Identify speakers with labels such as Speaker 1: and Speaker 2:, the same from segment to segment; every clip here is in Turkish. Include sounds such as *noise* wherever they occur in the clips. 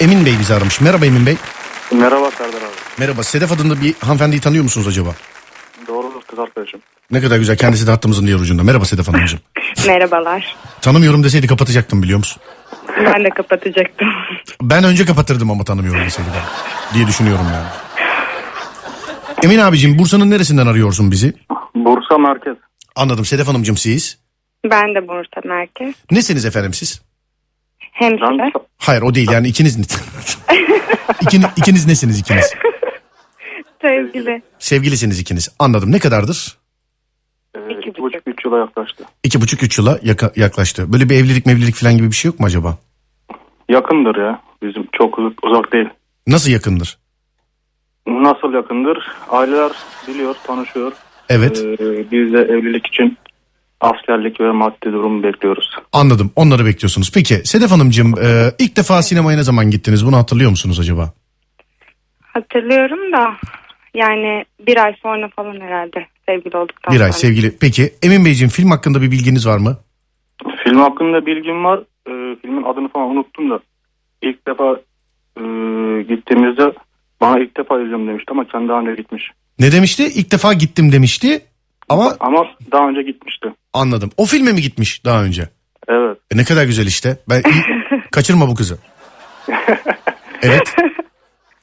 Speaker 1: Emin Bey bizi aramış. Merhaba Emin Bey.
Speaker 2: Merhaba Serdar abi.
Speaker 1: Merhaba. Sedef adında bir hanımefendiyi tanıyor musunuz acaba?
Speaker 2: Doğrudur kız arkadaşım.
Speaker 1: Ne kadar güzel. Kendisi de hattımızın diğer ucunda. Merhaba Sedef Hanımcığım.
Speaker 3: Merhabalar.
Speaker 1: Tanımıyorum deseydi kapatacaktım biliyor musun?
Speaker 3: Ben de kapatacaktım.
Speaker 1: Ben önce kapatırdım ama tanımıyorum deseydi ben. Diye düşünüyorum yani. Emin abicim Bursa'nın neresinden arıyorsun bizi?
Speaker 2: Bursa merkez.
Speaker 1: Anladım Sedef Hanımcığım siz.
Speaker 3: Ben de Bursa Merkez.
Speaker 1: Nesiniz efendim siz?
Speaker 3: Hemşire.
Speaker 2: Ben
Speaker 1: Hayır o değil yani ikiniz... İkini, ikiniz nesiniz ikiniz?
Speaker 3: Sevgili.
Speaker 1: Sevgilisiniz ikiniz. Anladım ne kadardır?
Speaker 2: e,
Speaker 3: İki
Speaker 2: iki buçuk üç yıla yaklaştı.
Speaker 1: İki buçuk üç yıla yaka- yaklaştı. Böyle bir evlilik mevlilik falan gibi bir şey yok mu acaba?
Speaker 2: Yakındır ya. Bizim çok uz- uzak değil.
Speaker 1: Nasıl yakındır?
Speaker 2: Nasıl yakındır? Aileler biliyor, tanışıyor.
Speaker 1: Evet
Speaker 2: Ee, biz de evlilik için askerlik ve maddi durumu bekliyoruz.
Speaker 1: anladım onları bekliyorsunuz. Peki Sedef Hanımcığım e, ilk defa sinemaya ne zaman gittiniz bunu hatırlıyor musunuz acaba?
Speaker 3: Hatırlıyorum da yani bir ay sonra falan herhalde sevgili olduktan
Speaker 1: Bir ay
Speaker 3: sonra.
Speaker 1: sevgili. Peki Emin Beyciğim film hakkında bir bilginiz var mı?
Speaker 2: Film hakkında bilgim var. Ee, filmin adını falan unuttum da. İlk defa e, gittiğimizde bana ilk defa izliyorum demişti ama kendi haline gitmiş.
Speaker 1: Ne demişti? İlk defa gittim demişti ama
Speaker 2: Ama daha önce gitmişti.
Speaker 1: anladım. O filme mi gitmiş daha önce?
Speaker 2: Evet.
Speaker 1: E, ne kadar güzel işte. Ben kaçırma bu kızı. Evet.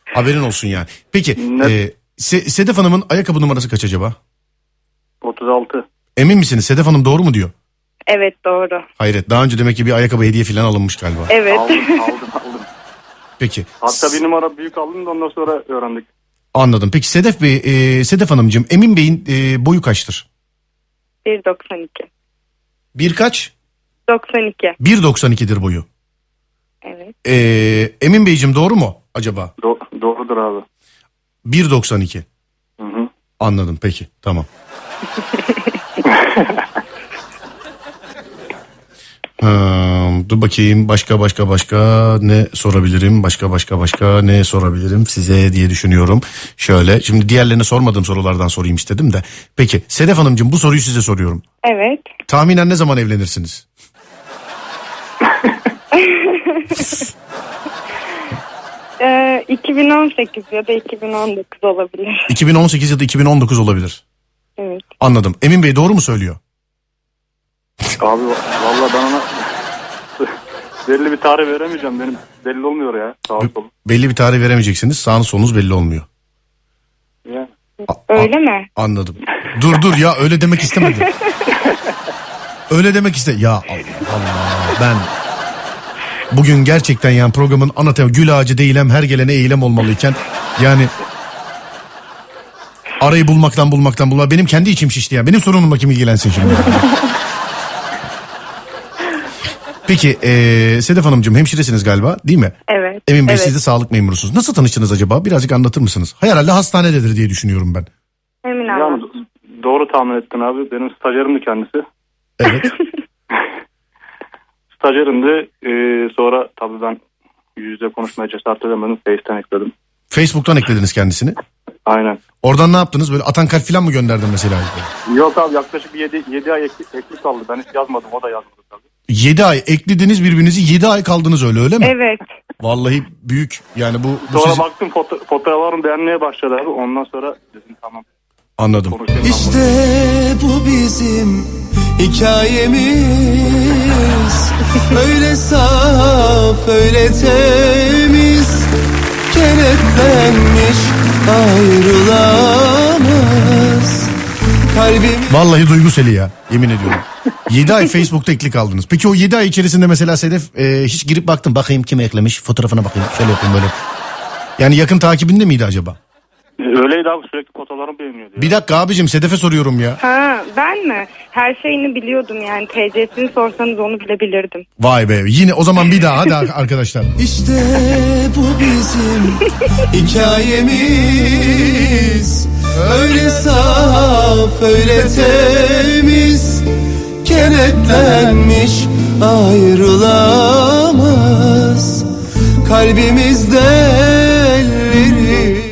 Speaker 1: Haberin olsun yani. Peki
Speaker 2: Ne-
Speaker 1: e, Se- Sedef Hanım'ın ayakkabı numarası kaç acaba?
Speaker 2: 36.
Speaker 1: Emin misiniz? Sedef Hanım doğru mu diyor?
Speaker 3: Evet doğru.
Speaker 1: Hayret. Daha önce demek ki bir ayakkabı hediye falan alınmış galiba.
Speaker 3: Evet. *laughs*
Speaker 2: Aldım, aldım, aldım.
Speaker 1: Peki.
Speaker 2: Hatta bir numara büyük aldım da ondan sonra öğrendik.
Speaker 1: Anladım. Peki Sedef Bey, e, Sedef Hanımcığım Emin Bey'in e, boyu kaçtır?
Speaker 3: 1.92.
Speaker 1: Bir kaç?
Speaker 3: 92.
Speaker 1: 1.92'dir boyu.
Speaker 3: Evet.
Speaker 1: E, Emin Beyciğim doğru mu acaba?
Speaker 2: Do- doğrudur abi.
Speaker 1: 1.92.
Speaker 2: Hı hı.
Speaker 1: Anladım peki *laughs* tamam. Hmm, dur bakayım başka başka başka ne sorabilirim başka başka başka ne sorabilirim size diye düşünüyorum. Şöyle şimdi diğerlerine sormadığım sorulardan sorayım istedim de. Peki Sedef Hanımcığım bu soruyu size soruyorum.
Speaker 3: Evet.
Speaker 1: Tahminen ne zaman evlenirsiniz?
Speaker 3: Ee, 2018 ya da 2019 olabilir.
Speaker 1: 2018 ya da 2019 olabilir.
Speaker 3: Evet.
Speaker 1: Anladım. Emin Bey doğru mu söylüyor?
Speaker 2: Abi va- vallahi ben ona belli bir tarih veremeyeceğim. Benim belli olmuyor ya. Sağ ol.
Speaker 1: Belli bir tarih veremeyeceksiniz. Sağınız solunuz belli olmuyor.
Speaker 2: Ya.
Speaker 1: A- a-
Speaker 3: Öyle mi?
Speaker 1: Anladım. Dur dur ya öyle demek istemedim. öyle demek iste. Ya Allah Allah ben bugün gerçekten yani programın ana tema gül ağacı değilem her gelene eylem olmalıyken yani arayı bulmaktan bulmaktan bulma benim kendi içim şişti ya. Benim sorunumla kim ilgilensin şimdi? Peki eee Sedef Hanımcığım hemşiresiniz galiba değil mi?
Speaker 3: Evet.
Speaker 1: Emin Bey
Speaker 3: evet.
Speaker 1: siz de sağlık memurusunuz. Nasıl tanıştınız acaba? Birazcık anlatır mısınız? Herhalde hastanededir diye düşünüyorum ben.
Speaker 3: Emin
Speaker 2: Yani
Speaker 3: abla.
Speaker 2: doğru tahmin ettin abi. Benim stajyerimdi kendisi.
Speaker 1: Evet.
Speaker 2: Stajyerimdi. Ee, sonra tabii ben yüzde konuşmaya cesaret edemedim. Face'ten ekledim.
Speaker 1: Facebook'tan eklediniz kendisini.
Speaker 2: Aynen.
Speaker 1: Oradan ne yaptınız? Böyle atan kalp falan mı gönderdin mesela?
Speaker 2: Yok abi yaklaşık 7, 7 ay ekli, ekli kaldı. Ben hiç yazmadım. O da yazmadı tabii.
Speaker 1: 7 ay eklediniz birbirinizi 7 ay kaldınız öyle öyle mi?
Speaker 3: Evet.
Speaker 1: Vallahi büyük yani bu, bu
Speaker 2: Sonra
Speaker 1: sizin-
Speaker 2: baktım foto- fotoğraflarımı beğenmeye başladı abi. Ondan sonra dedim tamam.
Speaker 1: anladım.
Speaker 2: Konuşayım.
Speaker 4: İşte bu bizim hikayemiz Öyle saf öyle temiz Kenetlenmiş ayrılamaz Kalbim
Speaker 1: Vallahi duyguseli ya yemin ediyorum. 7 ay Facebook'ta ekli kaldınız. Peki o 7 ay içerisinde mesela Sedef e, hiç girip baktın bakayım kim eklemiş fotoğrafına bakayım şöyle yapayım böyle. Yani yakın takibinde miydi acaba?
Speaker 2: Ee, Öyleydi abi sürekli fotoğraflarımı beğeniyordu. ya.
Speaker 1: Bir dakika abicim Sedef'e soruyorum ya.
Speaker 3: Ha ben mi? Her şeyini biliyordum yani. TC'sini sorsanız onu bile bilirdim.
Speaker 1: Vay be yine o zaman bir daha hadi arkadaşlar.
Speaker 4: İşte bu bizim hikayemiz Öyle saf öyle temiz Kenetlenmiş ayrılamaz Kalbimizde elleri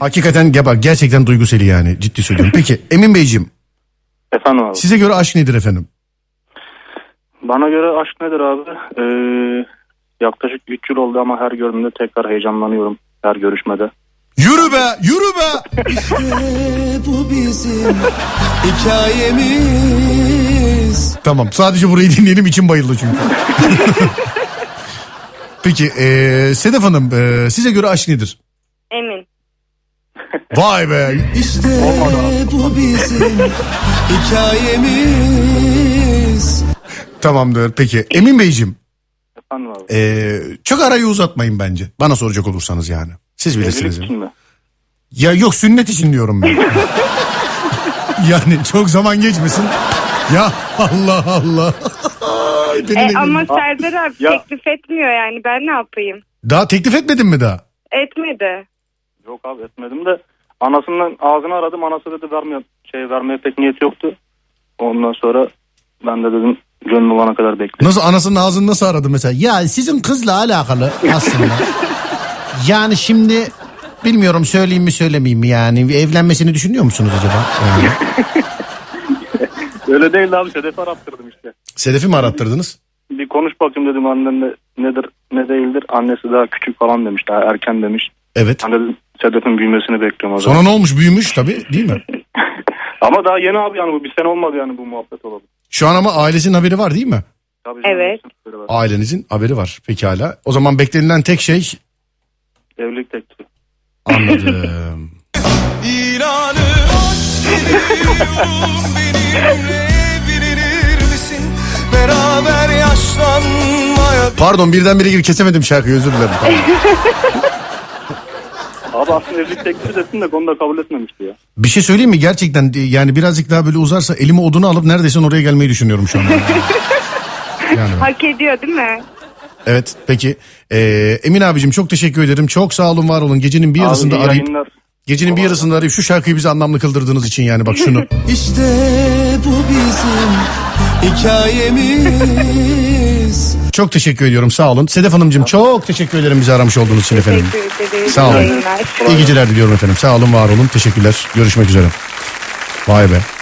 Speaker 1: Hakikaten ya bak gerçekten duyguseli yani ciddi söylüyorum. Peki Emin Beyciğim
Speaker 2: Efendim abi.
Speaker 1: size göre aşk nedir efendim?
Speaker 2: Bana göre aşk nedir abi? Ee, Yaklaşık 3 yıl oldu ama her görünümde tekrar heyecanlanıyorum her görüşmede.
Speaker 1: Yürü be yürü
Speaker 3: *laughs*
Speaker 1: be.
Speaker 4: İşte bu bizim hikayemiz
Speaker 1: tamam sadece burayı dinleyelim için bayıldı
Speaker 3: *laughs*
Speaker 1: çünkü. Peki e, Sedef Hanım e, size göre aşk nedir?
Speaker 3: Emin.
Speaker 1: Vay be.
Speaker 4: İşte bu bizim hikayemiz
Speaker 1: Tamamdır peki. Emin Beyciğim
Speaker 2: Efendim abi.
Speaker 1: e, çok arayı uzatmayın bence. Bana soracak olursanız yani. Siz bilirsiniz.
Speaker 2: Evlilik
Speaker 1: yani.
Speaker 2: için mi?
Speaker 1: Ya yok sünnet için diyorum ben.
Speaker 3: *laughs*
Speaker 1: yani çok zaman geçmesin. Ya Allah Allah. Beni
Speaker 3: E,
Speaker 1: de gö-
Speaker 3: ama Serdar abi
Speaker 2: Ya.
Speaker 3: teklif etmiyor yani ben ne yapayım?
Speaker 1: Daha teklif etmedin mi daha?
Speaker 3: Etmedi.
Speaker 2: Yok abi etmedim de anasından ağzını aradım anası dedi vermiyor şey vermeye pek niyeti yoktu. Ondan sonra ben de dedim gönlü olana kadar bekle.
Speaker 1: Nasıl anasının ağzını nasıl aradı mesela? Ya sizin kızla alakalı aslında. yani şimdi bilmiyorum söyleyeyim mi söylemeyeyim mi yani evlenmesini düşünüyor musunuz acaba? Yani.
Speaker 2: Öyle değil abi Sedef'i arattırdım işte.
Speaker 1: Sedef'i mi arattırdınız?
Speaker 2: Bir konuş bakayım dedim annenle nedir ne değildir. Annesi daha küçük falan demiş daha erken demiş.
Speaker 1: Evet.
Speaker 2: Ben dedim Sedef'in büyümesini bekliyorum o zaman.
Speaker 1: Sonra ne olmuş büyümüş tabii değil mi?
Speaker 2: Ama daha yeni abi yani bu bir sene olmadı yani bu muhabbet olalı.
Speaker 1: Şu an ama ailesinin haberi var değil mi?
Speaker 2: Tabii
Speaker 3: Evet.
Speaker 2: canım,
Speaker 1: Ailenizin haberi var pekala. O zaman beklenilen tek şey
Speaker 2: Evlilik teklifi.
Speaker 1: anladım.
Speaker 4: İlanı aşk ediyorum benimle bilinir misin? Beraber yaşlanmaya
Speaker 1: Pardon birdenbire gir kesemedim şarkıyı özür dilerim. Pardon.
Speaker 2: Abi aslında evlilik teklifi desin de konuda kabul etmemişti ya.
Speaker 1: Bir şey söyleyeyim mi gerçekten e, yani birazcık daha böyle uzarsa elime odunu alıp neredeyse oraya gelmeyi düşünüyorum şu an. Yani ben-
Speaker 3: Hak ediyor değil mi?
Speaker 1: evet peki E, Emin abicim çok teşekkür ederim çok sağ olun var olun gecenin bir yarısında
Speaker 2: iyi
Speaker 1: arayıp
Speaker 2: yayınlar.
Speaker 1: gecenin bir yarısında arayıp şu şarkıyı bize anlamlı kıldırdığınız için yani bak şunu
Speaker 4: İşte bu bizim hikayemiz
Speaker 1: çok teşekkür ediyorum sağ olun Sedef Hanımcığım çok teşekkür ederim bizi aramış olduğunuz için efendim.
Speaker 3: Teşekkür ederim.
Speaker 1: Sağ olun.
Speaker 3: İyi yayınlar.
Speaker 1: İyi geceler diliyorum efendim sağ olun var olun teşekkürler görüşmek üzere. Vay be